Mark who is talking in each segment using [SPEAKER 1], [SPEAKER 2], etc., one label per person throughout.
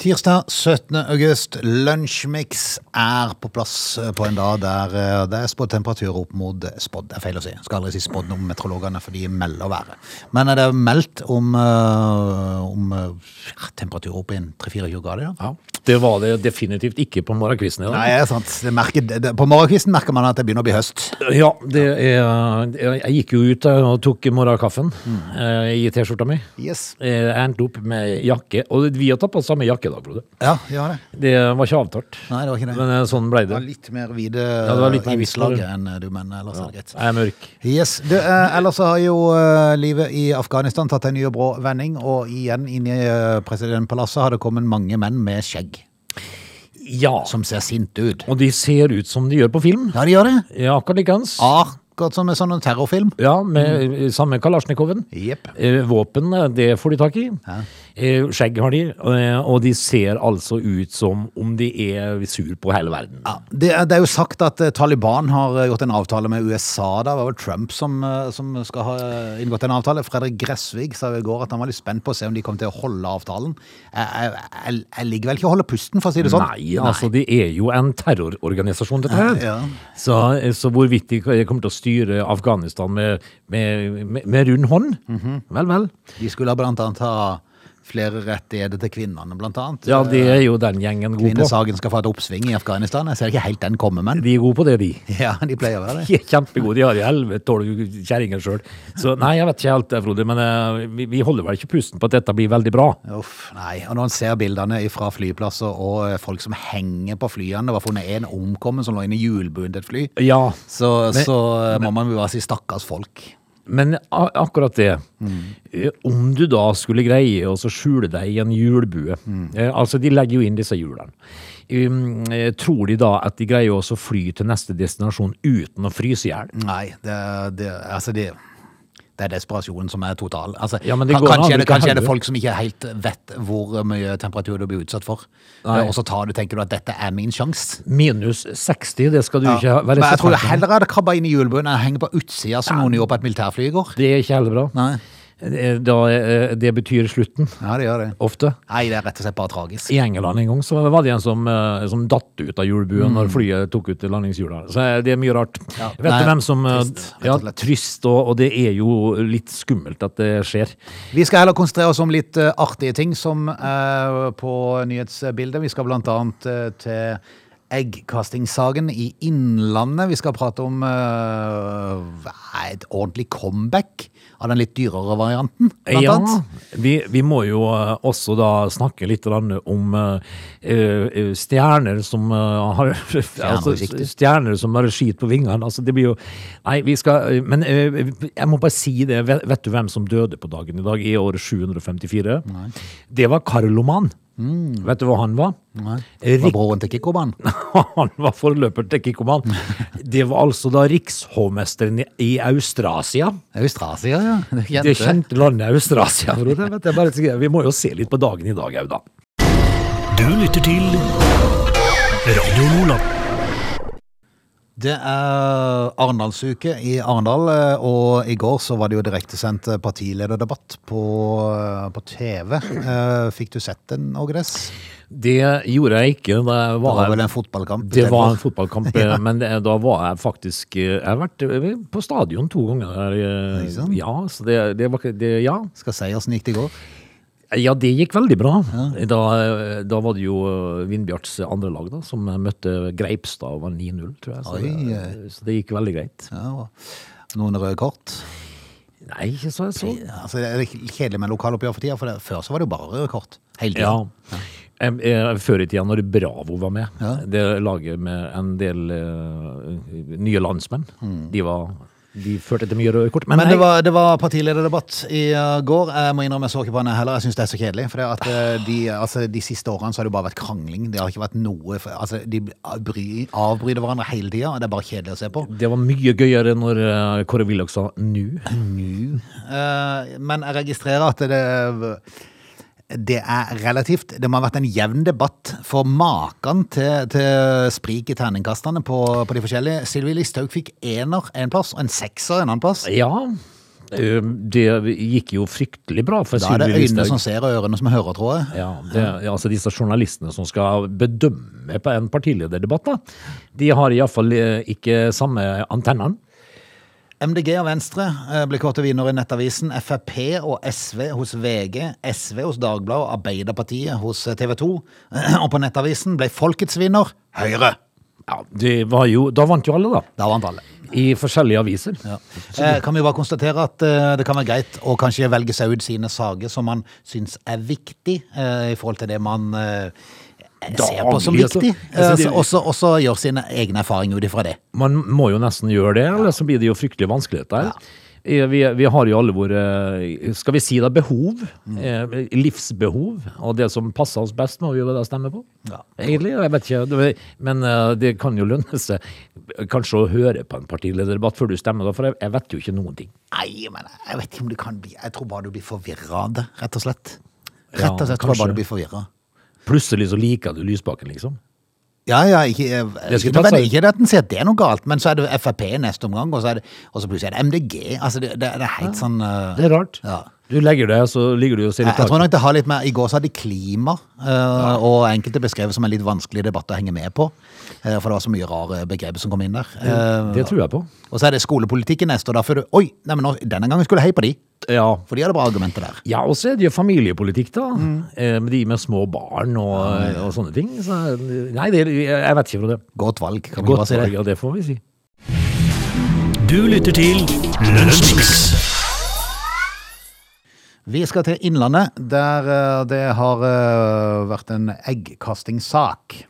[SPEAKER 1] Tirsdag 17. august, Lunsjmix er på plass på en dag der eh, det er spådd temperatur opp mot eh, spådd, det er feil å si. Skal aldri si spådd om meteorologene, for de melder været. Men er det meldt om, eh, om eh, ja, temperatur opp i en 3-4 grader? Ja?
[SPEAKER 2] Ja, Det var det definitivt ikke på morgenkvisten i dag.
[SPEAKER 1] Nei, det er sant. Det merker, det- det, på morgenkvisten merker man at det begynner å bli høst.
[SPEAKER 2] Ja, det er, eh, jeg gikk jo ut og tok morgenkaffen eh, i T-skjorta mi.
[SPEAKER 1] Yes.
[SPEAKER 2] Eh, Jeg endte opp med jakke, og vi har tatt på samme jakke i dag, Frode.
[SPEAKER 1] Ja, gjør det.
[SPEAKER 2] Det var ikke avtalt,
[SPEAKER 1] Nei, det var ikke det.
[SPEAKER 2] men eh, sånn ble
[SPEAKER 1] Det var
[SPEAKER 2] det.
[SPEAKER 1] litt mer hvite
[SPEAKER 2] det var litt mer hvitt på
[SPEAKER 1] innslaget
[SPEAKER 2] det.
[SPEAKER 1] enn du, men ellers er det greit.
[SPEAKER 2] Jeg er mørk.
[SPEAKER 1] Yes. Du, eh, ellers så har jo eh, livet i Afghanistan tatt en ny og brå vending, og igjen inne i eh, presidentpalasset har det kommet mange menn med skjegg
[SPEAKER 2] Ja,
[SPEAKER 1] som ser sinte ut.
[SPEAKER 2] og de ser ut som de gjør på film.
[SPEAKER 1] Ja, de gjør det.
[SPEAKER 2] Ja, akkurat likens.
[SPEAKER 1] Akkurat som en sånn terrorfilm.
[SPEAKER 2] Ja, med eh, samme Kalasjnikoven.
[SPEAKER 1] Jepp.
[SPEAKER 2] Eh, Våpen, eh, det får de tak i.
[SPEAKER 1] Ja.
[SPEAKER 2] Eh, Skjegg har de, eh, og de ser altså ut som om de er sur på hele verden.
[SPEAKER 1] Ja, det, er- det er jo sagt at eh, Taliban har eh, gjort en avtale med USA. Da. Det var vel Trump som, eh, som skal ha eh, inngått en avtale. Fredrik Gressvig sa jo i går at han var litt spent på å se om de kom til å holde avtalen. Jeg, jeg, jeg, jeg ligger vel ikke og holder pusten, for å si det sånn.
[SPEAKER 2] Nei, altså det er jo en terrororganisasjon dette her.
[SPEAKER 1] Ja.
[SPEAKER 2] Så, eh, så hvorvidt de kommer til å styre Afghanistan med, med, med, med rund hånd,
[SPEAKER 1] Mhm.
[SPEAKER 2] vel, vel.
[SPEAKER 1] De skulle blant annet ha flere rettigheter til kvinnene, blant annet.
[SPEAKER 2] Ja, det er jo den gjengen god på.
[SPEAKER 1] Kvinnesaken skal få et oppsving i Afghanistan. Jeg ser ikke helt den komme, men
[SPEAKER 2] De er gode på det, de.
[SPEAKER 1] ja, de pleier å være det.
[SPEAKER 2] De er kjempegode, de har i helvete tolv kjerringer sjøl. Så nei, jeg vet ikke helt det, Frode, men eh, vi, vi holder vel ikke pusten på at dette blir veldig bra.
[SPEAKER 1] Uff, nei. Og når en ser bildene fra flyplasser og eh, folk som henger på flyene, det var funnet en omkommen som lå inne i hjulbunnen til et fly,
[SPEAKER 2] Ja,
[SPEAKER 1] så, så eh, må man jo bare si stakkars folk.
[SPEAKER 2] Men a akkurat det.
[SPEAKER 1] Mm.
[SPEAKER 2] Eh, Om du da skulle greie å så skjule deg i en hjulbue
[SPEAKER 1] Mm.
[SPEAKER 2] eh, Altså, de legger jo inn disse hjulene. Um, eh, tror de da at de greier å så fly til neste destinasjon uten å fryse i hjel?
[SPEAKER 1] Nei, det, det, altså det, det er desperasjonen som er total. Altså,
[SPEAKER 2] Ja, men det
[SPEAKER 1] kan-
[SPEAKER 2] går an,
[SPEAKER 1] kanskje,
[SPEAKER 2] det
[SPEAKER 1] er det,
[SPEAKER 2] kan
[SPEAKER 1] kanskje er det
[SPEAKER 2] hende.
[SPEAKER 1] folk som ikke helt vet hvor mye temperatur du blir utsatt for.
[SPEAKER 2] Nei.
[SPEAKER 1] Og så tar du, tenker du at dette er min sjanse.
[SPEAKER 2] Minus 60, det skal du ikke ha-
[SPEAKER 1] Men
[SPEAKER 2] være
[SPEAKER 1] jeg
[SPEAKER 2] så
[SPEAKER 1] tror jeg
[SPEAKER 2] tett med.
[SPEAKER 1] heller hadde krabba inn i hjulbunnen enn å henge på utsida som noen gjorde på et militærfly i går.
[SPEAKER 2] Det er ikke heller bra.
[SPEAKER 1] Nei.
[SPEAKER 2] Eh, Da, eh, det betyr slutten,
[SPEAKER 1] Ja, det gjør det.
[SPEAKER 2] ofte.
[SPEAKER 1] Nei, det er rett og slett bare tragisk.
[SPEAKER 2] I England en gang så var det en som, eh, som datt ut av hjulbuen når flyet tok ut landingshjula. Så eh, det er mye rart.
[SPEAKER 1] Mm. Ja.
[SPEAKER 2] Vet
[SPEAKER 1] Nei,
[SPEAKER 2] du hvem som eh,
[SPEAKER 1] trist, rett
[SPEAKER 2] Ja,
[SPEAKER 1] og slett.
[SPEAKER 2] trist, og, og det er jo litt skummelt at det skjer.
[SPEAKER 1] Vi skal heller konsentrere oss om litt eh, artige ting som er på nyhetsbildet. Vi skal blant annet eh, til eggkastingssaken i Innlandet. Vi skal prate om eh, et ordentlig comeback av den litt dyrere varianten, blant
[SPEAKER 2] ja,
[SPEAKER 1] annet.
[SPEAKER 2] vi, vi må jo eh, også da snakke litt grann om eh, eh, stjerner som eh, har altså,
[SPEAKER 1] riktig.
[SPEAKER 2] Stjerner som har skit på vingene. Altså, det blir jo Nei, vi skal Men eh, jeg må bare si det. Vet, vet du hvem som døde på dagen i dag, i året 754? Det var Karloman. Vet du hva han var?
[SPEAKER 1] Mm. Nei. Det var
[SPEAKER 2] Rik
[SPEAKER 1] broren til Kikkoban.
[SPEAKER 2] han var forløper til Kikkoman. Det var altså da rikshovmesteren i, i Austrasia.
[SPEAKER 1] Austrasia, ja. Det kjente.
[SPEAKER 2] Det kjente landet Austrasia, Frode. Vet du, jeg bare sier, Vi må jo se litt på dagen i dag òg, da.
[SPEAKER 3] Du lytter til Radio Nordland.
[SPEAKER 1] Det er Arendalsuke i Arendal, eh, og i går så var det jo direktesendt eh, partilederdebatt på, eh, på TV. Eh, Fikk du sett den, Ågres?
[SPEAKER 2] Det gjorde jeg ikke. Da jeg
[SPEAKER 1] Det
[SPEAKER 2] var
[SPEAKER 1] var
[SPEAKER 2] her.
[SPEAKER 1] vel en fotballkamp?
[SPEAKER 2] Det var en
[SPEAKER 1] istedenfor?
[SPEAKER 2] fotballkamp, eh, men det- da var jeg faktisk eh, Jeg har vært eh, på stadion to ganger. eh,
[SPEAKER 1] Ikke sant?
[SPEAKER 2] Ja, så det, det var ikke det, Ja.
[SPEAKER 1] Skal si åssen gikk det i går.
[SPEAKER 2] Ja, det gikk veldig bra. Da, da var det jo eh, Vindbjarts andre lag da, som møtte Greipstad og var 9-0, tror jeg. Så,
[SPEAKER 1] Oi,
[SPEAKER 2] det, så det gikk veldig greit.
[SPEAKER 1] Ja, og noen røde kort.
[SPEAKER 2] Nei, ikke så jeg så.
[SPEAKER 1] Ja, Altså, det er kjedelig med lokaloppgjør for tida, for det, før så var det jo bare røde kort. Hele tida.
[SPEAKER 2] Ja. Em, eh, Før i tida, når Bravo var med,
[SPEAKER 1] Ja.
[SPEAKER 2] det laget med en del eh, nye landsmenn, de, var, de førte til mye røde kort. Men,
[SPEAKER 1] Mm. Men
[SPEAKER 2] nei,
[SPEAKER 1] det var, det var partilederdebatt i eh, går. Jeg må innrømme jeg så ikke på den heller. Jeg syns det er så kjedelig. For det at eh, de, altså, de siste årene så har det bare vært krangling. Det har ikke vært noe for, altså, De bry, avbryter hverandre hele tida, og det er bare kjedelig å se på.
[SPEAKER 2] det var mye gøyere når eh, Kåre Willoch sa 'nu'.
[SPEAKER 1] Eh, men jeg registrerer at det det er relativt. Det må ha vært en jevn debatt for maken til, til sprik i terningkastene på, på de forskjellige. Sylvi Listhaug fikk ener en plass, og en sekser en annen plass.
[SPEAKER 2] Ja, eh, det gikk jo fryktelig bra for
[SPEAKER 1] Da er det
[SPEAKER 2] Sylvi
[SPEAKER 1] øynene som
[SPEAKER 2] Listhaug.
[SPEAKER 1] ser, og ørene som hører, tror jeg.
[SPEAKER 2] Ja, det, ja, altså disse journalistene som skal bedømme på en partilederdebatt, da. de har iallfall eh, ikke samme antennene.
[SPEAKER 1] MDG og Venstre eh, ble kåret til vinner i Nettavisen. Frp og SV hos VG. SV hos Dagbladet og Arbeiderpartiet hos eh, TV 2. Og på Nettavisen ble folkets vinner Høyre.
[SPEAKER 2] Ja, det var jo, da vant jo alle, da.
[SPEAKER 1] Da vant alle.
[SPEAKER 2] I forskjellige aviser.
[SPEAKER 1] Eh, Kan vi bare konstatere at eh, det kan være greit å kanskje velge seg ut sine saker som man syns er viktig eh, i forhold til det man eh, ser på som
[SPEAKER 2] Daglig, altså.
[SPEAKER 1] viktig,
[SPEAKER 2] Altså, det-
[SPEAKER 1] og så også gjøre sine egne erfaringer ut ifra det.
[SPEAKER 2] Man må jo nesten gjøre det, eller så blir det jo fryktelig vanskelig dette her. Eh, Vi, vi har jo alle våre, eh, skal vi si da, behov. eh, Livsbehov. Og det som passer oss best, må vi jo da stemme på.
[SPEAKER 1] Ja.
[SPEAKER 2] Egentlig, jeg vet ikke. det- Men eh, det kan jo lønne seg kanskje å høre på en partilederdebatt før du stemmer, da, for jeg, jeg vet jo ikke noen ting.
[SPEAKER 1] Nei, men jeg vet ikke om du kan bli Jeg tror bare du blir forvirra av det, rett og slett.
[SPEAKER 2] Ja,
[SPEAKER 1] Rett og slett tror jeg
[SPEAKER 2] kanskje.
[SPEAKER 1] bare du blir forvirra.
[SPEAKER 2] Plutselig så liker du Lysbakken, liksom.
[SPEAKER 1] Ja, ja, ikke, eh,
[SPEAKER 2] Det skulle
[SPEAKER 1] ikke,
[SPEAKER 2] tatt sånn-
[SPEAKER 1] men,
[SPEAKER 2] seg-
[SPEAKER 1] ikke det at en sier at det er noe galt, men så er det Frp i neste omgang, og så, er det, og så plutselig er det MDG. Altså, det, det, det er helt sånn eh,
[SPEAKER 2] Det er rart.
[SPEAKER 1] Ja. altså,
[SPEAKER 2] Du legger deg, så ligger du og ser i
[SPEAKER 1] Jeg, jeg tror
[SPEAKER 2] taket.
[SPEAKER 1] nok det har litt mer, I går så hadde de klima, eh, og enkelte beskrev det som en litt vanskelig debatt å henge med på. eh, for det var så mye rare begrep som kom inn der. Eh,
[SPEAKER 2] Det tror jeg på.
[SPEAKER 1] og så er det skolepolitikken neste, og da får du Oi, nei, men nå, denne gangen skulle jeg hei på de!
[SPEAKER 2] Ja,
[SPEAKER 1] For de hadde bra argumenter der.
[SPEAKER 2] Ja, og så er det jo familiepolitikk, da.
[SPEAKER 1] Mm.
[SPEAKER 2] Eh, med de med små barn og, og sånne ting. Så, nei, det, jeg vet ikke fra det.
[SPEAKER 1] Godt valg, kan vi
[SPEAKER 2] Godt
[SPEAKER 1] bare si det.
[SPEAKER 2] valg, ja, det får vi si.
[SPEAKER 3] Du lytter til Lunsjmix.
[SPEAKER 1] Vi skal til Innlandet, der eh, det har eh, vært en eggkastingssak.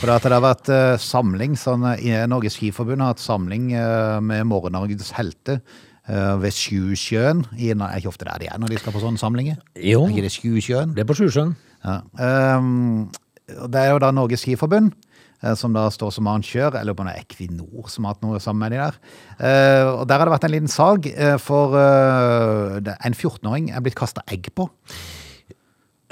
[SPEAKER 1] For at det har vært eh, samling, sånn, eh, Norges Skiforbund har hatt samling eh, med Morgen-Norges helter eh, ved Sjusjøen. I, nei, er ikke ofte der de er når de skal på sånne samlinger.
[SPEAKER 2] Jo.
[SPEAKER 1] Er ikke det Sjusjøen?
[SPEAKER 2] Det er på Sjusjøen.
[SPEAKER 1] Ja. Ehm, og det er jo da Norges Skiforbund, eh, som da står som arrangør, eller om det er Equinor som har hatt noe sammen med de der. Eh, og der har det vært en liten sag, eh, for eh, det- en 14-åring er blitt kasta egg på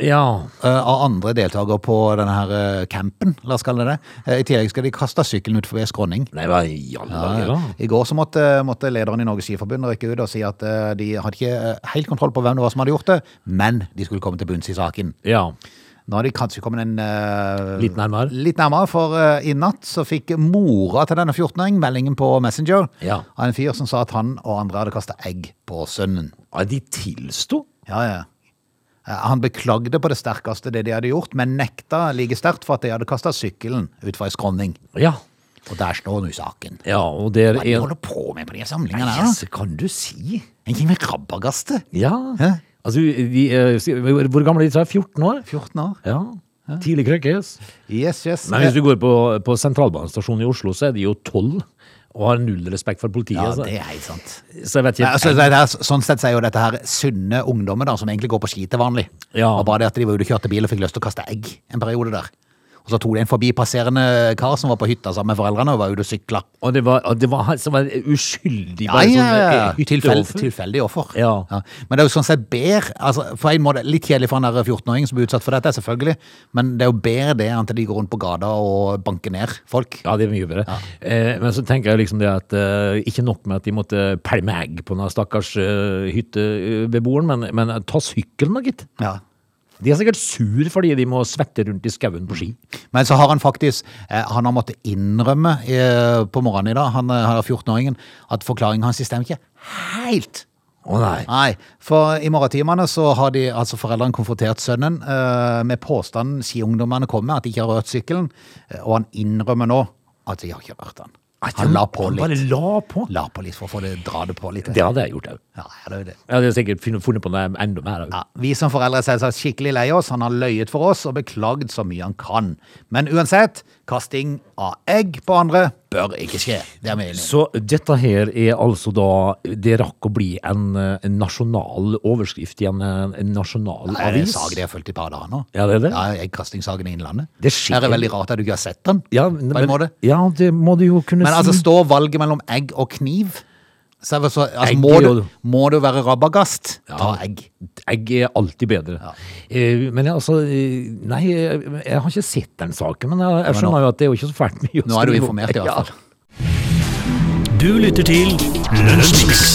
[SPEAKER 2] Ja.
[SPEAKER 1] eh, av andre deltakere på denne her eh, campen, la oss kalle det det. Eh, I tillegg skal de kaste sykkelen utfor en skråning.
[SPEAKER 2] Nei, hva i alle dager, da?
[SPEAKER 1] I går så måtte, måtte lederen i Norges Skiforbund rykke ut og si at eh, de hadde ikke eh, helt kontroll på hvem det var som hadde gjort det, men de skulle komme til bunns i saken.
[SPEAKER 2] Ja.
[SPEAKER 1] Nå har de kanskje kommet en eh,
[SPEAKER 2] Litt nærmere.
[SPEAKER 1] Litt nærmere, for eh, i natt så fikk mora til denne 14-åringen meldingen på Messenger
[SPEAKER 2] Ja.
[SPEAKER 1] av en fyr som sa at han og andre hadde kasta egg på sønnen.
[SPEAKER 2] Ja, De tilsto?
[SPEAKER 1] Ja, ja. Eh, Han beklagde på det sterkeste det de hadde gjort, men nekta like sterkt for at de hadde kasta sykkelen ut fra ei skråning.
[SPEAKER 2] Ja.
[SPEAKER 1] Og der står nå saken.
[SPEAKER 2] ja. Og det er
[SPEAKER 1] Hva er det de holder på med på de samlingene her? da?
[SPEAKER 2] Yes, kan du si?
[SPEAKER 1] En ting med rabagaste.
[SPEAKER 2] Ja.
[SPEAKER 1] Hæ?
[SPEAKER 2] Altså, de, eh, si- hvor gamle er de? sa jeg? 14 år?
[SPEAKER 1] 14 år.
[SPEAKER 2] Ja. Tidlig krøkkes.
[SPEAKER 1] Yes, yes.
[SPEAKER 2] Men hvis du går på, på sentralbanestasjonen i Oslo, så er de jo tolv og har null respekt for politiet.
[SPEAKER 1] ja,
[SPEAKER 2] så-
[SPEAKER 1] det er helt sant.
[SPEAKER 2] Så jeg
[SPEAKER 1] Nei,
[SPEAKER 2] vet ikke
[SPEAKER 1] altså, det er, sånn sett så er jo dette her sunne ungdommer da, som egentlig går på ski til vanlig.
[SPEAKER 2] Ja.
[SPEAKER 1] Og bare det at de var ute og kjørte bil og fikk lyst til å kaste egg en periode der. Og så tok det en forbipasserende kar som var på hytta sammen med foreldrene og var ute og sykla.
[SPEAKER 2] Og det var, og det var han som var uskyldig.
[SPEAKER 1] Ja,
[SPEAKER 2] bare
[SPEAKER 1] ja,
[SPEAKER 2] sånn,
[SPEAKER 1] ja.
[SPEAKER 2] eh,
[SPEAKER 1] Tilfell,
[SPEAKER 2] hytteoffer.
[SPEAKER 1] tilfeldig offer.
[SPEAKER 2] Ja.
[SPEAKER 1] Men det er jo sånn sett bedre, altså, for en måte litt kjedelig for en der 14-åring som blir utsatt for dette, selvfølgelig, men det er jo bedre det enn at de går rundt på gata og banker ned folk.
[SPEAKER 2] Ja, det er mye bedre. Eh, men så tenker jeg liksom det at eh, ikke nok med at de måtte pælme egg på den stakkars eh, hyttebeboeren, men, men ta sykkelen da, gitt.
[SPEAKER 1] Ja.
[SPEAKER 2] De er sikkert sur fordi de må svette rundt i skauen på ski.
[SPEAKER 1] Men så har han faktisk eh, Han har måttet innrømme eh, på morgenen i dag, han eh, han er 14-åringen, at forklaringen hans stemmer ikke helt.
[SPEAKER 2] Å nei.
[SPEAKER 1] Nei, for i morgentimene så har de, altså foreldrene konfrontert sønnen eh, med påstanden skiungdommene kom med, at de ikke har rørt sykkelen, eh, og han innrømmer nå at de har ikke rørt den. Han la på
[SPEAKER 2] Han
[SPEAKER 1] litt.
[SPEAKER 2] bare la på.
[SPEAKER 1] La på litt for å få det, dra det på litt.
[SPEAKER 2] Det hadde jeg gjort òg.
[SPEAKER 1] Ja, det er jo det.
[SPEAKER 2] Jeg hadde sikkert funnet- funnet på noe enda mer. også.
[SPEAKER 1] Ja, vi som foreldre er selvsagt skikkelig lei oss. Han har løyet for oss og beklagd så mye han kan. Men uansett, kasting av egg på andre bør ikke skje. Det er vi enige om.
[SPEAKER 2] Så dette her er altså da Det rakk å bli en, eh, en nasjonal overskrift i en, eh, en nasjonal
[SPEAKER 1] Er det en
[SPEAKER 2] avis.
[SPEAKER 1] sak de har fulgt i et par dager nå?
[SPEAKER 2] Ja, det er det.
[SPEAKER 1] Ja, Eggkastingssaken i Innlandet.
[SPEAKER 2] Det skjer.
[SPEAKER 1] er veldig rart at du ikke har sett den.
[SPEAKER 2] Ja,
[SPEAKER 1] på en måte.
[SPEAKER 2] ja, det sånn. må du jo kunne
[SPEAKER 1] Men altså,
[SPEAKER 2] si.
[SPEAKER 1] står valget mellom egg og kniv? Så jeg var så, altså,
[SPEAKER 2] Egg
[SPEAKER 1] må,
[SPEAKER 2] og-
[SPEAKER 1] du, må du være rabagast, ta egg.
[SPEAKER 2] Egg er alltid bedre. Eh, men jeg, altså eh, Nei, jeg, jeg har ikke sett den saken, men jeg, jeg
[SPEAKER 1] men nå-
[SPEAKER 2] skjønner jo at det er jo ikke så fælt mye å
[SPEAKER 1] Nå er du
[SPEAKER 2] skrive om.
[SPEAKER 1] informert, i
[SPEAKER 2] Ja.
[SPEAKER 1] hvert fall.
[SPEAKER 3] Du lytter til Lunsjmix.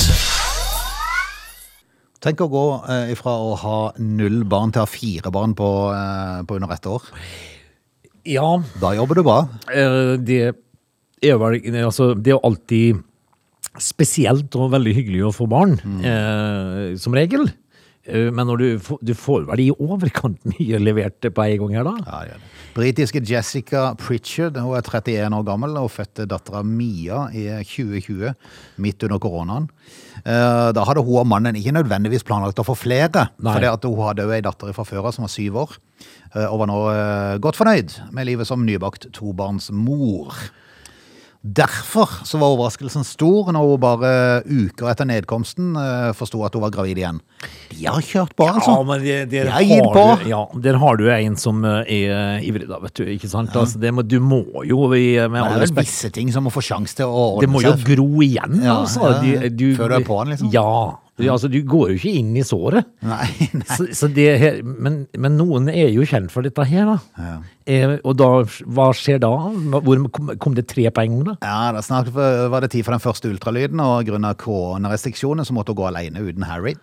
[SPEAKER 1] Tenk å gå eh, ifra å ha null barn til å ha fire barn på, eh, på under ett år.
[SPEAKER 2] Ja,
[SPEAKER 1] Da jobber du bra.
[SPEAKER 2] eh, det er vel Altså, det er jo alltid spesielt og veldig hyggelig å få barn,
[SPEAKER 1] Mm.
[SPEAKER 2] eh, som regel. Eh, Men når du, får- du får vel i overkant mye levert på en gang her, da?
[SPEAKER 1] Ja, det gjør det. Britiske Jessica Pritchard hun er 31 år gammel og fødte dattera Mia i 2020, midt under koronaen. Eh, Da hadde hun og mannen ikke nødvendigvis planlagt å få flere,
[SPEAKER 2] Nei.
[SPEAKER 1] fordi at hun hadde jo ei datter fra før av som var syv år, eh, og var nå eh, godt fornøyd med livet som nybakt tobarnsmor. Derfor så var overraskelsen stor når hun bare uker etter nedkomsten eh, forsto at hun var gravid igjen. De har kjørt på, altså.
[SPEAKER 2] Ja, men det, det
[SPEAKER 1] Jeg
[SPEAKER 2] har
[SPEAKER 1] gir på.
[SPEAKER 2] Du, ja, der har du en som eh, er ivrig, da, vet du. Ikke sant? Altså, det må, du må jo, i- eh, med
[SPEAKER 1] Det
[SPEAKER 2] all
[SPEAKER 1] er vel
[SPEAKER 2] respekt
[SPEAKER 1] visse ting som må få sjanse til å
[SPEAKER 2] Det
[SPEAKER 1] ordne
[SPEAKER 2] må jo
[SPEAKER 1] seg.
[SPEAKER 2] gro igjen,
[SPEAKER 1] Ja,
[SPEAKER 2] altså.
[SPEAKER 1] ja, ja.
[SPEAKER 2] Du, du,
[SPEAKER 1] Før du er på den, liksom.
[SPEAKER 2] Ja. Du, altså, du går jo ikke inn i såret.
[SPEAKER 1] Nei, nei.
[SPEAKER 2] Så, så det her, men, men noen er jo kjent for dette her, da. Eh, og da, hva skjer da? Hvor kom, kom det tre på en gang, da?
[SPEAKER 1] Ja, da Snart var det tid for den første ultralyden, og grunnet koronarestriksjoner så måtte hun gå alene uten Harry.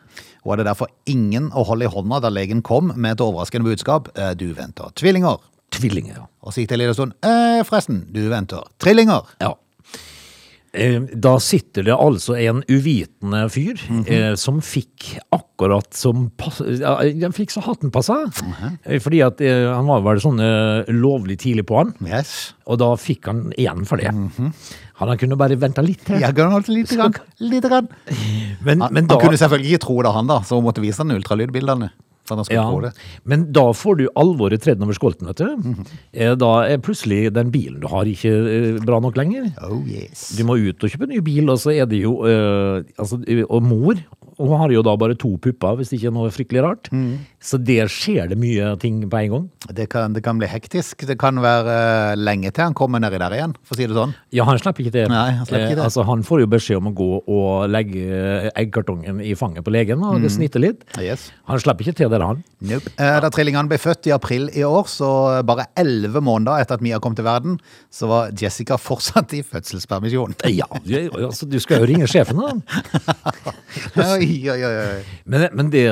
[SPEAKER 1] Hun hadde derfor ingen å holde i hånda da legen kom med et overraskende budskap. «Eh, Du venter tvillinger.
[SPEAKER 2] Tvillinger. ja.
[SPEAKER 1] Og så gikk det en liten stund. «Eh, Forresten, du venter trillinger.
[SPEAKER 2] Ja. Eh, Da sitter det altså en uvitende fyr
[SPEAKER 1] Mhm.
[SPEAKER 2] eh, som fikk akkurat som pass- ja, Han fikk så hatten passa.
[SPEAKER 1] Mhm.
[SPEAKER 2] Eh, Fordi at eh, han var vel sånn eh, lovlig tidlig på han,
[SPEAKER 1] Yes.
[SPEAKER 2] og da fikk han igjen for det.
[SPEAKER 1] Mhm.
[SPEAKER 2] Han, han kunne bare venta litt til.
[SPEAKER 1] Jeg kunne holdt lite grann. Lite grann.
[SPEAKER 2] Men,
[SPEAKER 1] Han,
[SPEAKER 2] men da
[SPEAKER 1] han kunne selvfølgelig ikke tro det, han da, så hun måtte vise han ultralydbildene. Så han skulle
[SPEAKER 2] ja,
[SPEAKER 1] tro det. Mhm.
[SPEAKER 2] Men da får du alvoret tredd over skolten, vet du. Eh, Da er plutselig den bilen du har, ikke eh, bra nok lenger.
[SPEAKER 1] Oh yes.
[SPEAKER 2] Du må ut og kjøpe en ny bil, og så er det jo eh, altså, eh, Og mor hun har jo da bare to pupper, hvis det ikke er noe fryktelig rart.
[SPEAKER 1] Mhm.
[SPEAKER 2] Så der skjer det mye ting på en gang.
[SPEAKER 1] Det kan, det kan bli hektisk. Det kan være eh, lenge til han kommer nedi der igjen, for å si det sånn.
[SPEAKER 2] Ja, han slipper ikke det.
[SPEAKER 1] Nei, han slipper ikke det.
[SPEAKER 2] Eh, altså, han får jo beskjed om å gå og legge eh, eggkartongen i fanget på legen og snitte litt.
[SPEAKER 1] Mhm. Yes.
[SPEAKER 2] Han slipper ikke til det, han.
[SPEAKER 1] Nope. Eh, Da trillingene ble født i april i år, så bare elleve måneder etter at Mia kom til verden, så var Jessica fortsatt i fødselspermisjon.
[SPEAKER 2] Ja, du, altså, du skal jo ringe sjefen, da.
[SPEAKER 1] Oi, oi, oi. oi.
[SPEAKER 2] Men, men det,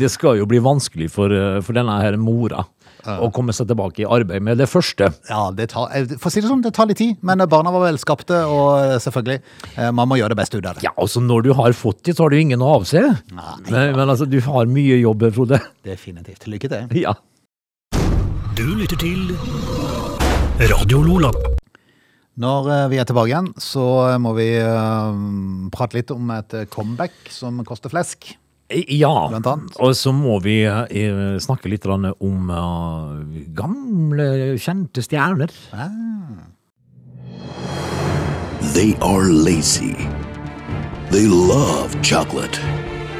[SPEAKER 2] det skal jo bli vanskelig for, eh, for denne her mora å komme seg tilbake i arbeid med det første.
[SPEAKER 1] Ja, det tar, eh, for å si det sånn, det tar litt tid, men eh, barna var velskapte, og eh, selvfølgelig, eh, man må gjøre det beste ut av det.
[SPEAKER 2] Ja, altså når du har fått det, så har du ingen å avse. men, men altså, du har mye jobb, Frode.
[SPEAKER 1] Definitivt. Lykke til.
[SPEAKER 2] ja.
[SPEAKER 3] Du lytter til Radio Lola.
[SPEAKER 1] Når eh, vi er tilbake igjen, så eh, må vi eh, prate litt om et eh, comeback som koster flesk.
[SPEAKER 2] Ja,
[SPEAKER 1] Blant annet.
[SPEAKER 2] og så må vi eh, snakke litt grann om eh, gamle, kjente stjerner.
[SPEAKER 4] They are lazy. They love chocolate.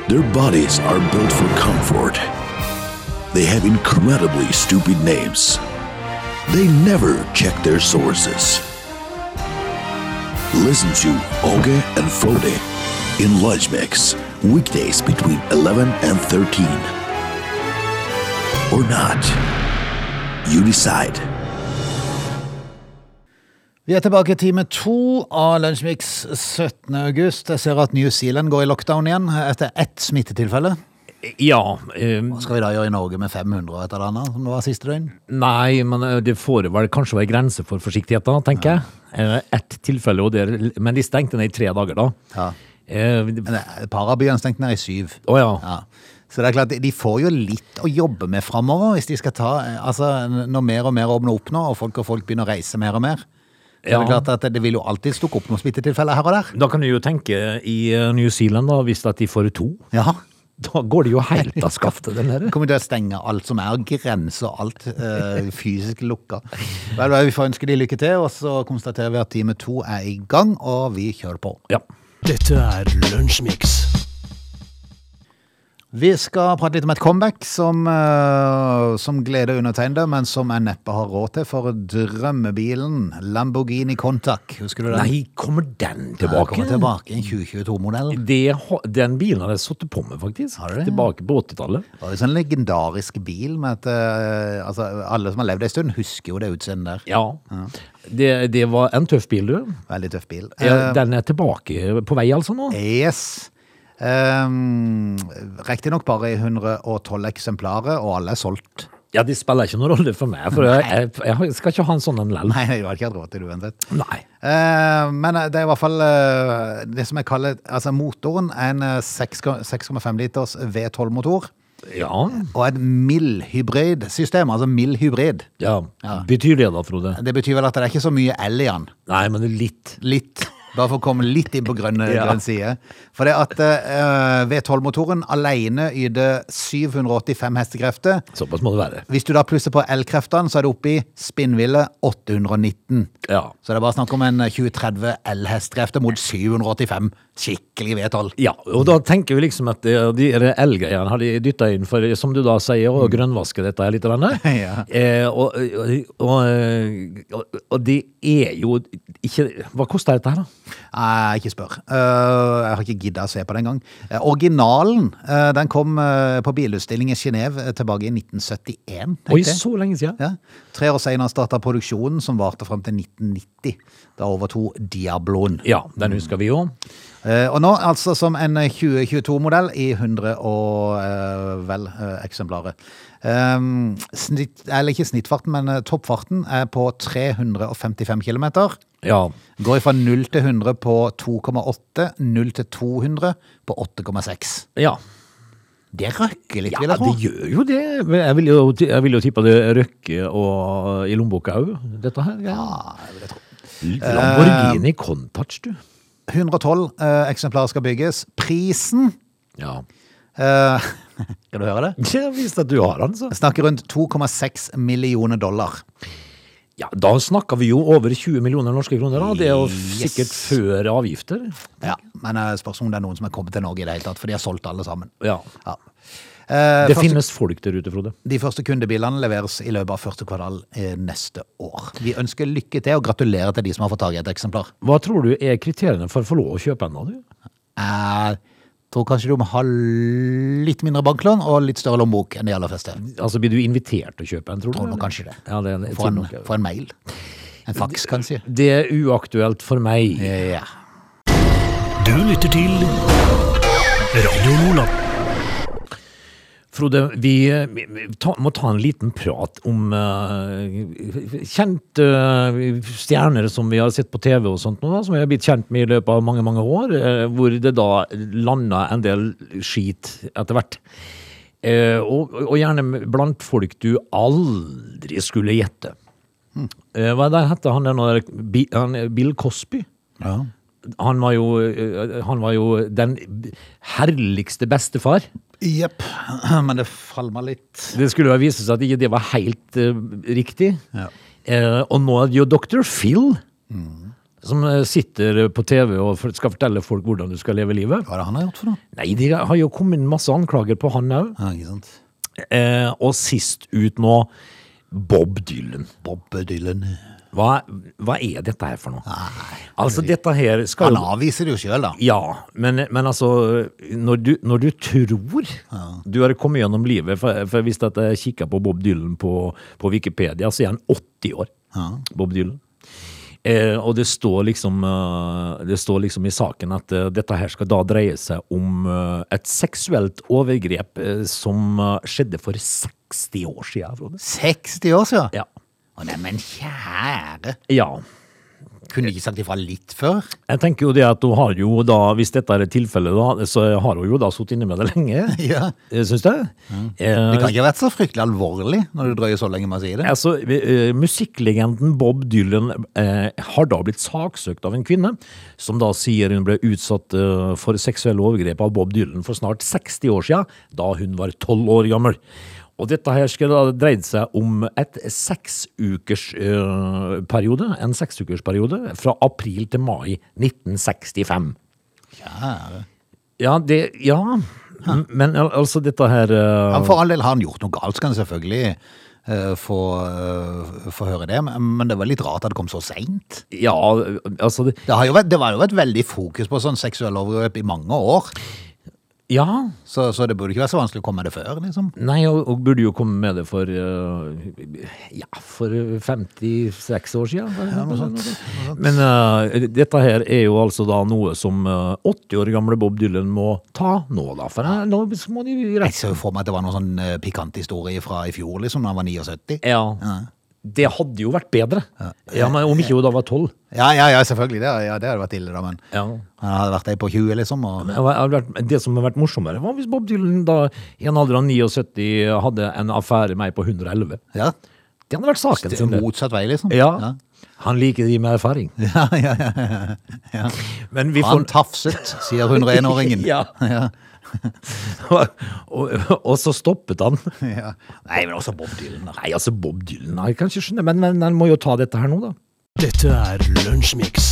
[SPEAKER 4] Their bodies are built for comfort. They have incredibly stupid names. They never check their sources. Listen to Oge and Frode in Lunch Mix, weekdays between 11 and 13. Or not. You decide.
[SPEAKER 1] Vi er tilbake i time to av Lunsjmix 17. august. Jeg ser at New Zealand går i lockdown igjen etter ett smittetilfelle.
[SPEAKER 2] Ja, eh,
[SPEAKER 1] Hva skal vi da gjøre i Norge med 500 etter det andre, som det var siste døgn?
[SPEAKER 2] nei, men eh, det får vel kanskje være grense for forsiktigheten, tenker jeg. Eh, Ett tilfelle, og der, men de stengte ned i tre dager da.
[SPEAKER 1] Ja.
[SPEAKER 2] Eh,
[SPEAKER 1] Men det- Et par av byene stengte ned i syv.
[SPEAKER 2] Å ja.
[SPEAKER 1] Ja. Så det er klart, de får jo litt å jobbe med framover hvis de skal ta Altså, når mer og mer åpner opp nå, og folk og folk begynner å reise mer og mer. Så det er
[SPEAKER 2] Ja.
[SPEAKER 1] klart at det vil jo alltid stukke opp noen smittetilfeller her og der.
[SPEAKER 2] Da kan du jo tenke i eh, New Zealand da, hvis at de får to.
[SPEAKER 1] Ja.
[SPEAKER 2] Da går det jo helt av skaftet, den der.
[SPEAKER 1] Kommer til å stenge alt som er grenser, alt eh, fysisk lukka. Vel, vel, vi får ønske de lykke til, og så konstaterer vi at time to er i gang, og vi kjører på.
[SPEAKER 2] Ja.
[SPEAKER 3] Dette er Lunsjmix.
[SPEAKER 1] Vi skal prate litt om et comeback som, eh, som gleder undertegnede, men som jeg neppe har råd til, for drømmebilen Lamborghini Contac. Husker du den?
[SPEAKER 2] Nei, kommer den
[SPEAKER 1] Den
[SPEAKER 2] tilbake?
[SPEAKER 1] kommer tilbake i en 2022-modell.
[SPEAKER 2] Det har- den bilen har jeg sittet på med, faktisk.
[SPEAKER 1] Har du det?
[SPEAKER 2] Tilbake på 80-tallet.
[SPEAKER 1] Det var jo sånn legendarisk bil med et eh, altså, Alle som har levd ei stund, husker jo det utseendet der.
[SPEAKER 2] Ja. Det, det var en tøff bil, du.
[SPEAKER 1] Veldig tøff bil.
[SPEAKER 2] Ja, Den er tilbake på vei, altså, nå?
[SPEAKER 1] Eh, yes. Um, Riktignok bare i 112 eksemplarer, og alle er solgt.
[SPEAKER 2] Ja, det spiller ikke noen rolle for meg, for jeg, jeg, jeg skal ikke ha en sånn en lell.
[SPEAKER 1] Nei, du har ikke hatt råd til det uansett.
[SPEAKER 2] Nei.
[SPEAKER 1] Eh, men det er i hvert fall eh, det som jeg kaller Altså, motoren er en eh, 6,5 liters V12-motor.
[SPEAKER 2] Ja.
[SPEAKER 1] Og et mildhybridsystem, altså mild hybrid.
[SPEAKER 2] ja. Betyr det da, Frode?
[SPEAKER 1] Det betyr vel at det er ikke så mye el i den.
[SPEAKER 2] Nei, men det er litt.
[SPEAKER 1] Litt. Bare for å komme litt inn på grønn,
[SPEAKER 2] Ja.
[SPEAKER 1] grønn side. For det at eh, V12-motoren alene yter 785 hestekrefter.
[SPEAKER 2] Såpass må det være.
[SPEAKER 1] Hvis du da plusser på elkreftene, så er det oppe i spinnville 819.
[SPEAKER 2] Ja.
[SPEAKER 1] Så det er bare snakk om en eh, 20-30 elhestekrefter mot 785 skikkelig V12.
[SPEAKER 2] Ja, og da tenker vi liksom at eh, de de elgreiene har de dytta inn for, som du da sier, å grønnvaske dette her litt. grann.
[SPEAKER 1] Ja.
[SPEAKER 2] Eh, og, og, og, og, og det er jo ikke Hva koster dette her, da?
[SPEAKER 1] Nei, ikke spør. Eh, jeg har ikke gidda å se på det engang. Uh, originalen eh, den kom eh, på bilutstilling i Genéve eh, tilbake i 1971. tenkte
[SPEAKER 2] Oi,
[SPEAKER 1] jeg.
[SPEAKER 2] så lenge siden!
[SPEAKER 1] Ja. Tre år senere starta produksjonen, som varte fram til 1990. Da overtok Diabloen.
[SPEAKER 2] Ja, den husker vi jo.
[SPEAKER 1] Eh, og nå altså som en 2022-modell i 100 og eh, vel eh, eksemplarer. Ehm, snitt, eller ikke snittfarten, men eh, toppfarten er på 355 km.
[SPEAKER 2] Ja.
[SPEAKER 1] Går fra 0 til 100 på 2,8, 0 til 200 på 8,6.
[SPEAKER 2] Ja.
[SPEAKER 1] Det røkker litt, vil
[SPEAKER 2] ja,
[SPEAKER 1] jeg tro.
[SPEAKER 2] det gjør jo det. Men Jeg vil jo, jeg vil jo tippe det røkker og i lommeboka òg, dette her.
[SPEAKER 1] Ja, det vil jeg tro.
[SPEAKER 2] Lamborghini Contouch, du.
[SPEAKER 1] 112 eh, eksemplarer skal bygges. Prisen
[SPEAKER 2] Ja.
[SPEAKER 1] eh, Skal du høre det?
[SPEAKER 2] Jeg visste at du har den, så.
[SPEAKER 1] Jeg snakker rundt 2,6 millioner dollar.
[SPEAKER 2] Ja, Da snakker vi jo over 20 millioner norske kroner. da. Det er jo sikkert før avgifter.
[SPEAKER 1] Ja, men eh, spørs om det er noen som er kommet til Norge i det hele tatt, for de har solgt alle sammen.
[SPEAKER 2] Ja.
[SPEAKER 1] Ja. Eh,
[SPEAKER 2] Det
[SPEAKER 1] første,
[SPEAKER 2] finnes folk der ute, Frode.
[SPEAKER 1] De første kundebilene leveres i løpet av første kvartal eh, neste år. Vi ønsker lykke til og gratulerer til de som har fått tak i et eksemplar.
[SPEAKER 2] Hva tror du er kriteriene for å få lov å kjøpe en av du?
[SPEAKER 1] Jeg Eh, tror kanskje du må ha litt mindre banklån og litt større lommebok enn de aller fleste.
[SPEAKER 2] Altså, Blir du invitert til å kjøpe en, tror du?
[SPEAKER 1] Tror nok
[SPEAKER 2] eller?
[SPEAKER 1] kanskje det.
[SPEAKER 2] Ja, det, er- jeg
[SPEAKER 1] Få
[SPEAKER 2] tror
[SPEAKER 1] en,
[SPEAKER 2] nok det.
[SPEAKER 1] få en mail. En faks, kanskje.
[SPEAKER 2] det er uaktuelt for meg.
[SPEAKER 1] Ja.
[SPEAKER 3] Du lytter til Radio Lola.
[SPEAKER 2] Frode, vi, eh, vi- vi ta, må ta en liten prat om eh, kjente eh, stjerner som vi har sett på TV og sånt, nå, da, som vi har blitt kjent med i løpet av mange, mange år, eh, hvor det da landa en del skit etter hvert. Eh, og, og gjerne blant folk du aldri skulle gjette. Eh, hva er det han heter han der nå? Bi- han- Bill Cosby?
[SPEAKER 1] Ja.
[SPEAKER 2] Han var jo, eh, han var jo den herligste bestefar.
[SPEAKER 1] Jepp. Men det faller meg litt
[SPEAKER 2] Det skulle jo vise seg at ikke det var helt eh, riktig. Eh, og nå er det jo Dr. Phil som eh, sitter på TV og for- skal fortelle folk hvordan du skal leve livet.
[SPEAKER 1] Hva er det han har gjort for noe?
[SPEAKER 2] Nei, de har jo kommet inn masse anklager på han òg.
[SPEAKER 1] Ja, ikke sant?
[SPEAKER 2] Eh, og sist ut nå, Bob Dylan.
[SPEAKER 1] Bob Dylan.
[SPEAKER 2] Hva, hva er dette her for noe? altså, dette her skal
[SPEAKER 1] Han
[SPEAKER 2] jo
[SPEAKER 1] avviser det jo sjøl, da.
[SPEAKER 2] Ja, men, men altså når du, når du tror du har kommet gjennom livet For, for hvis at jeg kikker på Bob Dylan på, på Wikipedia, så er han 80 år. Bob Dylan. Eh, og det står, liksom, eh, det står liksom i saken at eh, dette her skal da dreie seg om eh, et seksuelt overgrep eh, som eh, skjedde for 60 år siden, Frode.
[SPEAKER 1] 60 år siden?
[SPEAKER 2] Ja.
[SPEAKER 1] Å, nei, men kjære.
[SPEAKER 2] ja.
[SPEAKER 1] Kunne de ikke sagt ifra litt før?
[SPEAKER 2] Jeg tenker jo det at hun har jo da, hvis dette er tilfellet, da, så har hun jo da sittet inne med det lenge.
[SPEAKER 1] Ja.
[SPEAKER 2] Eh, Syns du? Eh,
[SPEAKER 1] Det kan ikke ha vært så fryktelig alvorlig når du drøyer så lenge med å si det.
[SPEAKER 2] Altså, eh, Musikklegenden Bob Dylan eh, har da blitt saksøkt av en kvinne, som da sier hun ble utsatt eh, for seksuelle overgrep av Bob Dylan for snart 60 år siden, da hun var 12 år gammel. Og dette her skal da dreid seg om et seksukers eh, periode, en seksukersperiode fra april til mai 1965.
[SPEAKER 1] Kjære.
[SPEAKER 2] Ja, det, ja. M- Men al- altså, dette her eh,
[SPEAKER 1] Han for all del har han gjort noe galt, skal han selvfølgelig eh, få, eh, få høre det. Men men det var litt rart at det kom så seint.
[SPEAKER 2] Ja, altså det,
[SPEAKER 1] Det, har jo vært- det var jo et veldig fokus på sånn seksuelle overgrep i mange år.
[SPEAKER 2] Ja.
[SPEAKER 1] Så, så det burde ikke være så vanskelig å komme med det før, liksom.
[SPEAKER 2] Nei, og, og burde jo komme med det for eh, Ja, for 56 år siden.
[SPEAKER 1] noe sånt,
[SPEAKER 2] Men eh, dette her er jo altså da noe som eh, 80 år gamle Bob Dylan må ta nå, da. For eh, nå må de
[SPEAKER 1] Jeg
[SPEAKER 2] reise
[SPEAKER 1] ser jo for meg at det var noen sånn eh, pikant historie fra i fjor, liksom, da han var 79.
[SPEAKER 2] Ja. Det hadde jo vært bedre. Ja, men Om ikke hun da var 12.
[SPEAKER 1] Ja, ja, ja, selvfølgelig. Det, ja, det hadde vært ille, da, men
[SPEAKER 2] Ja.
[SPEAKER 1] han hadde vært der på 20, liksom. Og,
[SPEAKER 2] Det hadde vært- det som hadde vært morsommere, var hvis Bob Dylan da i en alder av 79 hadde en affære med ei på 111.
[SPEAKER 1] ja,
[SPEAKER 2] Det hadde vært saken
[SPEAKER 1] det
[SPEAKER 2] sin.
[SPEAKER 1] er
[SPEAKER 2] det.
[SPEAKER 1] motsatt vei, liksom.
[SPEAKER 2] Ja. Han liker de med erfaring.
[SPEAKER 1] Ja, ja, ja, ja.
[SPEAKER 2] Men vi
[SPEAKER 1] Han
[SPEAKER 2] får
[SPEAKER 1] tafset, sier 101-åringen.
[SPEAKER 2] Ja. og, og så stoppet han.
[SPEAKER 1] Ja. Nei, men også Bob Dylan. da.
[SPEAKER 2] Nei, altså, Bob Dylan jeg kan ikke skjønne, men, men han må jo ta dette her nå, da.
[SPEAKER 3] Dette er Lunsjmix.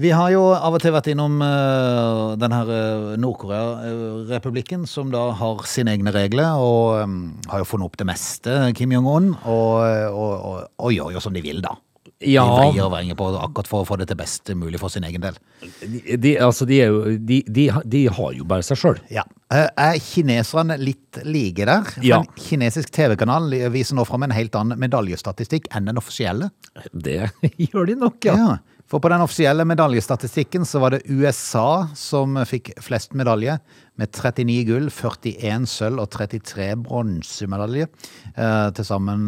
[SPEAKER 1] Vi har jo av og til vært innom uh, den her eh, Nord-Korea-republikken, som da har sine egne regler, og eh, har jo funnet opp det meste, Kim Jong-un, og, og, og, og gjør jo som de vil, da.
[SPEAKER 2] Ja,
[SPEAKER 1] De veier og vrenger på det akkurat for å få det til best mulig for sin egen del.
[SPEAKER 2] de, de, altså, de, er jo, de, de, ha- de har jo bare seg sjøl.
[SPEAKER 1] Ja. Eh, Er kineserne litt like der? For
[SPEAKER 2] Ja.
[SPEAKER 1] En kinesisk TV-kanal viser nå fram en helt annen medaljestatistikk enn den offisielle.
[SPEAKER 2] Det gjør de nok, ja.
[SPEAKER 1] Ja, For på den offisielle medaljestatistikken så var det USA som fikk flest medalje, med 39 gull, 41 sølv og 33 bronsemedaljer. Eh, til sammen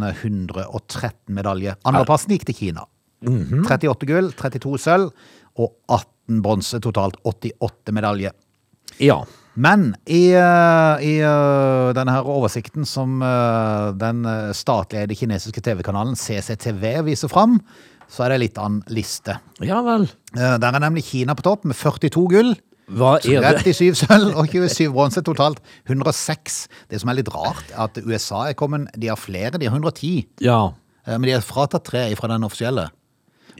[SPEAKER 1] 113 medaljer. Andreplassen gikk til Kina. 38 gull, 32 sølv og 18 bronse. Totalt 88 medaljer.
[SPEAKER 2] Ja.
[SPEAKER 1] Men i, eh, i eh, denne her oversikten som eh, den eh, statlig eide kinesiske TV-kanalen CCTV viser fram, så er det litt annen liste.
[SPEAKER 2] ja vel.
[SPEAKER 1] Eh, Der er nemlig Kina på topp med 42 gull.
[SPEAKER 2] Hva er det?
[SPEAKER 1] 37 sølv og 27 bronse, totalt 106. Det som er litt rart, er at USA er kommet De har flere, de har 110.
[SPEAKER 2] Ja.
[SPEAKER 1] eh, Men de har fratatt tre fra den offisielle.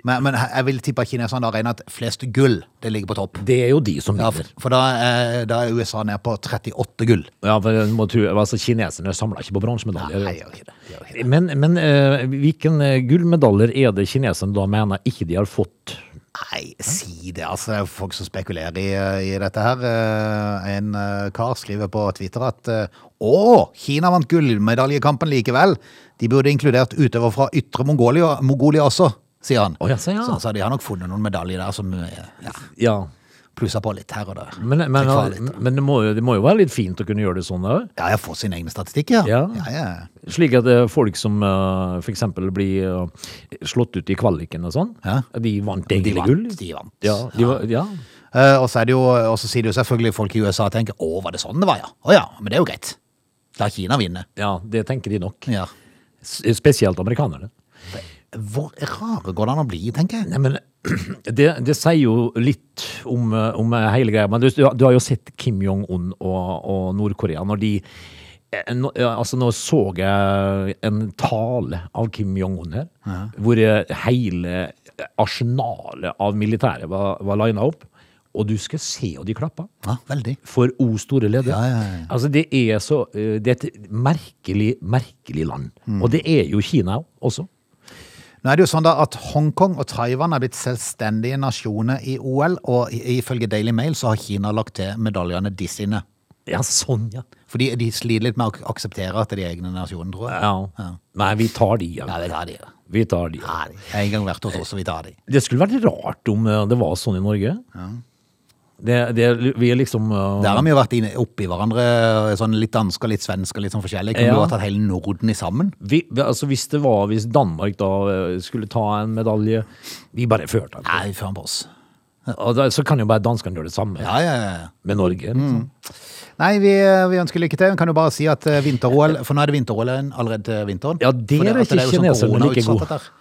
[SPEAKER 1] Men, men jeg vil tippe at kineserne har regnet flest gull. Det ligger på topp.
[SPEAKER 2] Det er jo de som
[SPEAKER 1] Ja, for
[SPEAKER 2] vinner.
[SPEAKER 1] for da, er- da er USA ned på 38 gull.
[SPEAKER 2] Ja, for jeg må tro, altså Kineserne samler ikke på
[SPEAKER 1] Nei, altså.
[SPEAKER 2] bronsemedaljer.
[SPEAKER 1] gjør ikke det. Gjør ikke det.
[SPEAKER 2] Men, men eh, hvilken eh, gullmedaljer er det kineserne da mener ikke de har fått?
[SPEAKER 1] Nei, si det. Altså, det er jo folk som spekulerer i, i dette her. Eh, En eh, kar skriver på Twitter at eh, Å, Kina vant gullmedaljekampen likevel. De burde inkludert utøver fra ytre Mongolia, Mongolia også, sier han.
[SPEAKER 2] Å, ja, sier
[SPEAKER 1] så,
[SPEAKER 2] han.
[SPEAKER 1] så de har nok funnet noen medaljer der som eh, ja,
[SPEAKER 2] Sånn, Ja.
[SPEAKER 1] plusser på litt her og der.
[SPEAKER 2] Men, men,
[SPEAKER 1] Trekker fra litt.
[SPEAKER 2] men det, må, jo- det må jo være litt fint å kunne gjøre det sånn òg.
[SPEAKER 1] Ja, jeg får sine egne statistikker.
[SPEAKER 2] Ja.
[SPEAKER 1] Ja, ja.
[SPEAKER 2] Slik at eh, folk som eh, for eksempel blir eh, slått ut i kvaliken og sånn,
[SPEAKER 1] Ja.
[SPEAKER 2] de vant egentlig
[SPEAKER 1] vant,
[SPEAKER 2] gull.
[SPEAKER 1] de vant.
[SPEAKER 2] Ja, de var, ja.
[SPEAKER 1] Eh, Og så er det jo, og så sier det jo selvfølgelig folk i USA og tenker Å, var det sånn det var, ja? Å ja, men det er jo greit. La Kina vinne.
[SPEAKER 2] ja, det tenker de nok.
[SPEAKER 1] Ja.
[SPEAKER 2] S spesielt amerikanerne.
[SPEAKER 1] Hvor rare går det an å bli, tenker jeg.
[SPEAKER 2] Nei, men det, det sier jo litt om, eh, om hele greia. Men du, du har jo sett Kim Jong-un og, og Nord-Korea. Når de eh, nå- ja, Altså, nå så jeg en tale av Kim Jong-un her, hvor eh, hele arsenalet av militæret var, var lina opp. Og du skal se og de klappa.
[SPEAKER 1] Ja, veldig.
[SPEAKER 2] For O store leder.
[SPEAKER 1] Ja, ja, ja.
[SPEAKER 2] Altså, det er så eh, Det er et merkelig, merkelig land.
[SPEAKER 1] Mm.
[SPEAKER 2] Og det er jo Kina også.
[SPEAKER 1] Nå er det jo sånn da at Hongkong og Taiwan er blitt selvstendige nasjoner i OL, og i- ifølge Daily Mail så har Kina lagt til medaljene de sine.
[SPEAKER 2] Ja, sånn, ja.
[SPEAKER 1] Fordi de sliter litt med å ak- akseptere at de er egne nasjoner, tror jeg.
[SPEAKER 2] Ja. Nei, vi tar de, ja.
[SPEAKER 1] Ja, vi tar de. da.
[SPEAKER 2] Vi tar de.
[SPEAKER 1] Ja, de. Jeg har en gang vært hos oss, så vi tar de.
[SPEAKER 2] Det skulle vært rart om eh, det var sånn i Norge. Det, det, vi er liksom eh,
[SPEAKER 1] Der har vi jo vært inne- oppi hverandre, sånn litt dansk og litt svensk og litt sånn forskjellig. Kunne
[SPEAKER 2] Ja.
[SPEAKER 1] du ha tatt hele Norden i sammen?
[SPEAKER 2] vi, altså Hvis det var Hvis Danmark da eh, skulle ta en medalje Vi bare førte den.
[SPEAKER 1] Nei, før han på oss.
[SPEAKER 2] Og da- Så kan jo bare danskene gjøre det samme
[SPEAKER 1] Ja, Mm. ja, ja.
[SPEAKER 2] med Norge. liksom.
[SPEAKER 1] Nei, vi, vi ønsker lykke til. Vi kan jo bare si at eh, vinter-OL For nå er det vinter-OL allerede til vinteren.
[SPEAKER 2] Ja, der
[SPEAKER 1] For
[SPEAKER 2] er
[SPEAKER 1] at
[SPEAKER 2] ikke
[SPEAKER 1] jo sånn
[SPEAKER 2] kineserne like
[SPEAKER 1] koronautsatt
[SPEAKER 2] gode.
[SPEAKER 1] at der-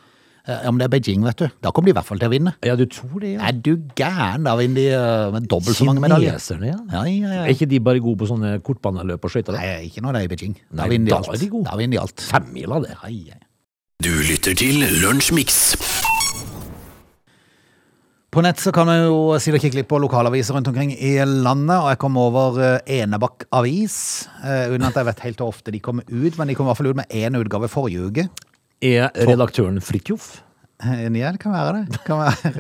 [SPEAKER 1] Eh, Ja, men det er Beijing, vet du. Da kommer de i hvert fall til å vinne.
[SPEAKER 2] Ja, du tror det, ja?
[SPEAKER 1] Er du gæren? Da vinner de eh, med dobbelt så mange medaljer.
[SPEAKER 2] Kineserne, ja.
[SPEAKER 1] Ja, ja,
[SPEAKER 2] Er
[SPEAKER 1] ja.
[SPEAKER 2] ikke de bare gode på sånne kortbaneløp og skøyter? da?
[SPEAKER 1] Nei, ikke når det er i Beijing. Da
[SPEAKER 2] Nei,
[SPEAKER 1] vinner de
[SPEAKER 2] da
[SPEAKER 1] alt.
[SPEAKER 2] er de gode.
[SPEAKER 1] Da vinner de alt.
[SPEAKER 2] Femmila, det.
[SPEAKER 1] Ai, ai.
[SPEAKER 3] Du lytter til Lunsjmix.
[SPEAKER 1] På nett så kan man jo sitte og kikke litt på lokalaviser rundt omkring i landet, og jeg kom over eh, Enebakk avis, eh, uten at jeg vet helt hvor ofte de kom ut, men de kom i hvert fall ut med én utgave forrige uke.
[SPEAKER 2] Er redaktøren Fridtjof?
[SPEAKER 1] Ja, Eh, det kan være det. det kan være.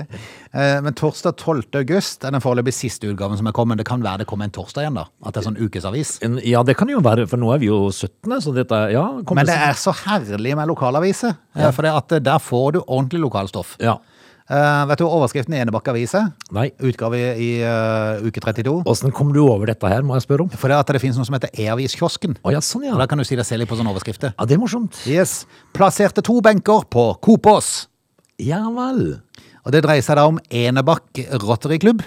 [SPEAKER 1] Eh, Men torsdag 12. august er den foreløpig siste utgaven som er kommet. Det kan være det kommer en torsdag igjen, da. At det er sånn ukesavis.
[SPEAKER 2] En- Ja, det kan jo være, for nå er vi jo 17. Så dette er- ja, kommer
[SPEAKER 1] Men det er så herlig med lokalaviser, eh, for det at eh, der får du ordentlig lokalstoff.
[SPEAKER 2] Ja.
[SPEAKER 1] Eh, vet du hva overskriften i Enebakk avis er?
[SPEAKER 2] Nei.
[SPEAKER 1] Utgave i eh, uke 32.
[SPEAKER 2] Åssen kom du over dette her, må jeg spørre om?
[SPEAKER 1] For det at det finnes noe som heter E-aviskiosken.
[SPEAKER 2] Å ja, sånn ja.
[SPEAKER 1] Og Da kan du si deg selv litt på sånne overskrifter.
[SPEAKER 2] Ja, Det er morsomt.
[SPEAKER 1] Yes. Plasserte to benker på Kopås.
[SPEAKER 2] Ja vel.
[SPEAKER 1] Og det dreier seg da om Enebakk Rotary Club,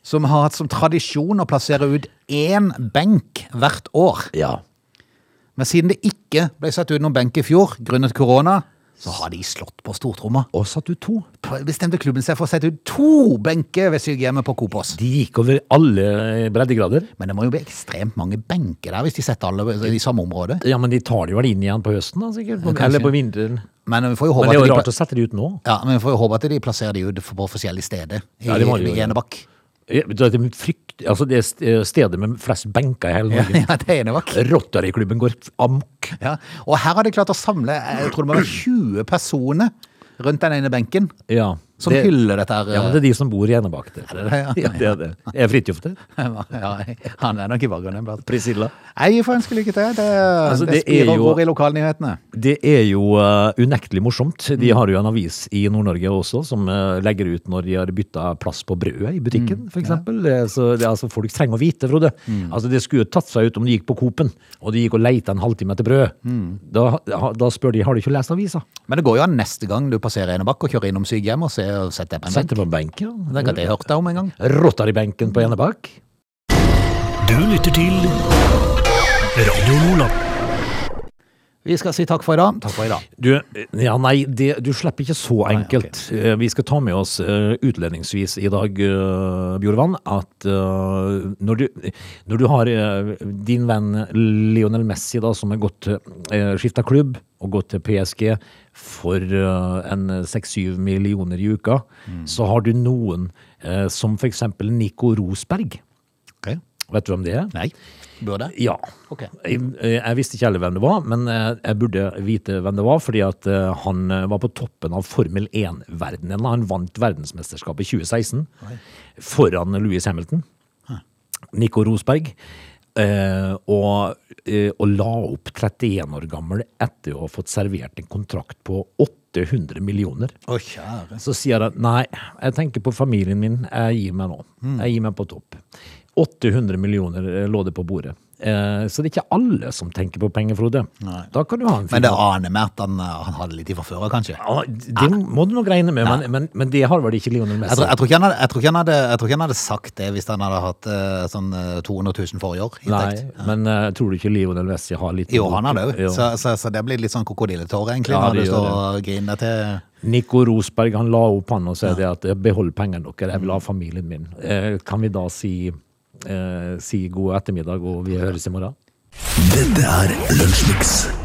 [SPEAKER 1] som har hatt som tradisjon å plassere ut én benk hvert år.
[SPEAKER 2] Ja.
[SPEAKER 1] Men siden det ikke ble satt ut noen benk i fjor grunnet korona, så har de slått på stortromma.
[SPEAKER 2] Og satt du to?
[SPEAKER 1] Bestemte klubben seg for å sette ut to benker ved sykehjemmet på Kopås.
[SPEAKER 2] De gikk over alle eh, breddegrader.
[SPEAKER 1] Men det må jo bli ekstremt mange benker der hvis de setter alle i samme område.
[SPEAKER 2] Ja, men de tar det vel inn igjen på høsten, da, sikkert.
[SPEAKER 1] Ja, kanskje.
[SPEAKER 2] Eller på vinteren.
[SPEAKER 1] Men vi får jo
[SPEAKER 2] Men
[SPEAKER 1] håpe,
[SPEAKER 2] det er
[SPEAKER 1] at
[SPEAKER 2] jo
[SPEAKER 1] de,
[SPEAKER 2] rart å
[SPEAKER 1] pla-
[SPEAKER 2] sette de ut nå.
[SPEAKER 1] ja, men vi får jo håpe at de plasserer de ut på forskjellige steder i,
[SPEAKER 2] Ja, det må de
[SPEAKER 1] i
[SPEAKER 2] gjøre.
[SPEAKER 1] Enebakk.
[SPEAKER 2] Ja, vet du, Det er, mitt frykt, altså det er st- steder med flest benker i hele
[SPEAKER 1] Ja,
[SPEAKER 2] Norge.
[SPEAKER 1] ja, det er Enebakk.
[SPEAKER 2] Rotaryklubben går amok.
[SPEAKER 1] Ja, og her har de klart å samle jeg tror det må være 20 personer rundt den ene benken
[SPEAKER 2] Ja,
[SPEAKER 1] som
[SPEAKER 2] det-
[SPEAKER 1] hyller dette her.
[SPEAKER 2] Ja, men det er de som bor i Enebakk. Det.
[SPEAKER 1] det det?
[SPEAKER 2] Ja, det er det. Er Fridtjof det?
[SPEAKER 1] eh, ja, han er nok i bakgrunnen. iblant.
[SPEAKER 2] Priscilla?
[SPEAKER 1] Nei, vi får ønske lykke til. Det,
[SPEAKER 2] Altså,
[SPEAKER 1] det
[SPEAKER 2] det er
[SPEAKER 1] spirer og
[SPEAKER 2] jo-
[SPEAKER 1] går i lokalnyhetene.
[SPEAKER 2] Det er jo eh, unektelig morsomt. De har jo en avis i Nord-Norge også som eh, legger ut når de har bytta plass på brødet i butikken, for f.eks. Så det, er altså, folk trenger å vite, Frode. Altså, det skulle jo tatt seg ut om de gikk på Coop-en og de gikk og leita en halvtime etter brød. Da, ha- da spør de har du ikke lest avisa.
[SPEAKER 1] Men det går jo an neste gang du passerer Enebakk og kjører innom sykehjem og ser- og setter deg på en
[SPEAKER 2] Sett
[SPEAKER 1] benk.
[SPEAKER 2] deg på en benk, ja.
[SPEAKER 1] Det har jeg hørt deg om en gang.
[SPEAKER 2] Rotarybenken på Enebakk.
[SPEAKER 3] Du lytter til Radio Lola.
[SPEAKER 1] Vi skal si takk for i dag. Takk for i dag.
[SPEAKER 2] Du, ja, nei, det, du slipper ikke så enkelt. Eh, Vi skal ta med oss eh, utledningsvis i dag, eh, Bjorvann, at eh, når du, når du har eh, din venn Lionel Messi, da, som har gått uh, skifta klubb og gått til PSG for eh, en seks-syv millioner i uka, så har du noen eh, som f.eks. Nico Rosberg.
[SPEAKER 1] Ok.
[SPEAKER 2] Vet du hvem det er?
[SPEAKER 1] Nei. Burde jeg?
[SPEAKER 2] Ja.
[SPEAKER 1] Ok.
[SPEAKER 2] Jeg, eh, jeg visste ikke heller hvem det var, men eh, jeg burde vite hvem det var, fordi at eh, han eh, var på toppen av Formel 1-verdenen. Han vant verdensmesterskapet i 2016 foran Louis Hamilton, Nico Rosberg, eh, og, eh, og la opp 31 år gammel etter å ha fått servert en kontrakt på 800 millioner.
[SPEAKER 1] Å, kjære.
[SPEAKER 2] Så sier han nei, jeg tenker på familien min, jeg gir meg nå.
[SPEAKER 1] Mm.
[SPEAKER 2] Jeg gir meg på topp. 800 millioner eh, lå det på bordet. Eh, så det er ikke alle som tenker på penger, Frode. Da kan du ha en fin
[SPEAKER 1] Men det aner meg at han, eh, han hadde litt i fra før av, kanskje.
[SPEAKER 2] Ja, Det må du nok regne med, men, men, men det har vel ikke Lionel
[SPEAKER 1] Jeg tror,
[SPEAKER 2] Messi.
[SPEAKER 1] jeg, tror ikke han hadde, jeg, tror ikke han hadde, jeg tror ikke han hadde sagt det hvis han hadde hatt eh, sånn eh, 200 000 forrige år.
[SPEAKER 2] Nei,
[SPEAKER 1] inntekt.
[SPEAKER 2] men eh, tror du ikke Lionel Messi har litt
[SPEAKER 1] Jo, han hadde òg,
[SPEAKER 2] Ja.
[SPEAKER 1] så, så, så det blir litt sånn krokodilletårer, egentlig.
[SPEAKER 2] Ja,
[SPEAKER 1] når
[SPEAKER 2] det
[SPEAKER 1] du
[SPEAKER 2] gjør
[SPEAKER 1] står og griner til
[SPEAKER 2] Nico Rosberg han la opp han og sa det at eh, behold pengene dere, jeg vil ha familien min. Eh, kan vi da si, eh, si god ettermiddag og vi høres i morgen?
[SPEAKER 4] Dette er Lunsjmix.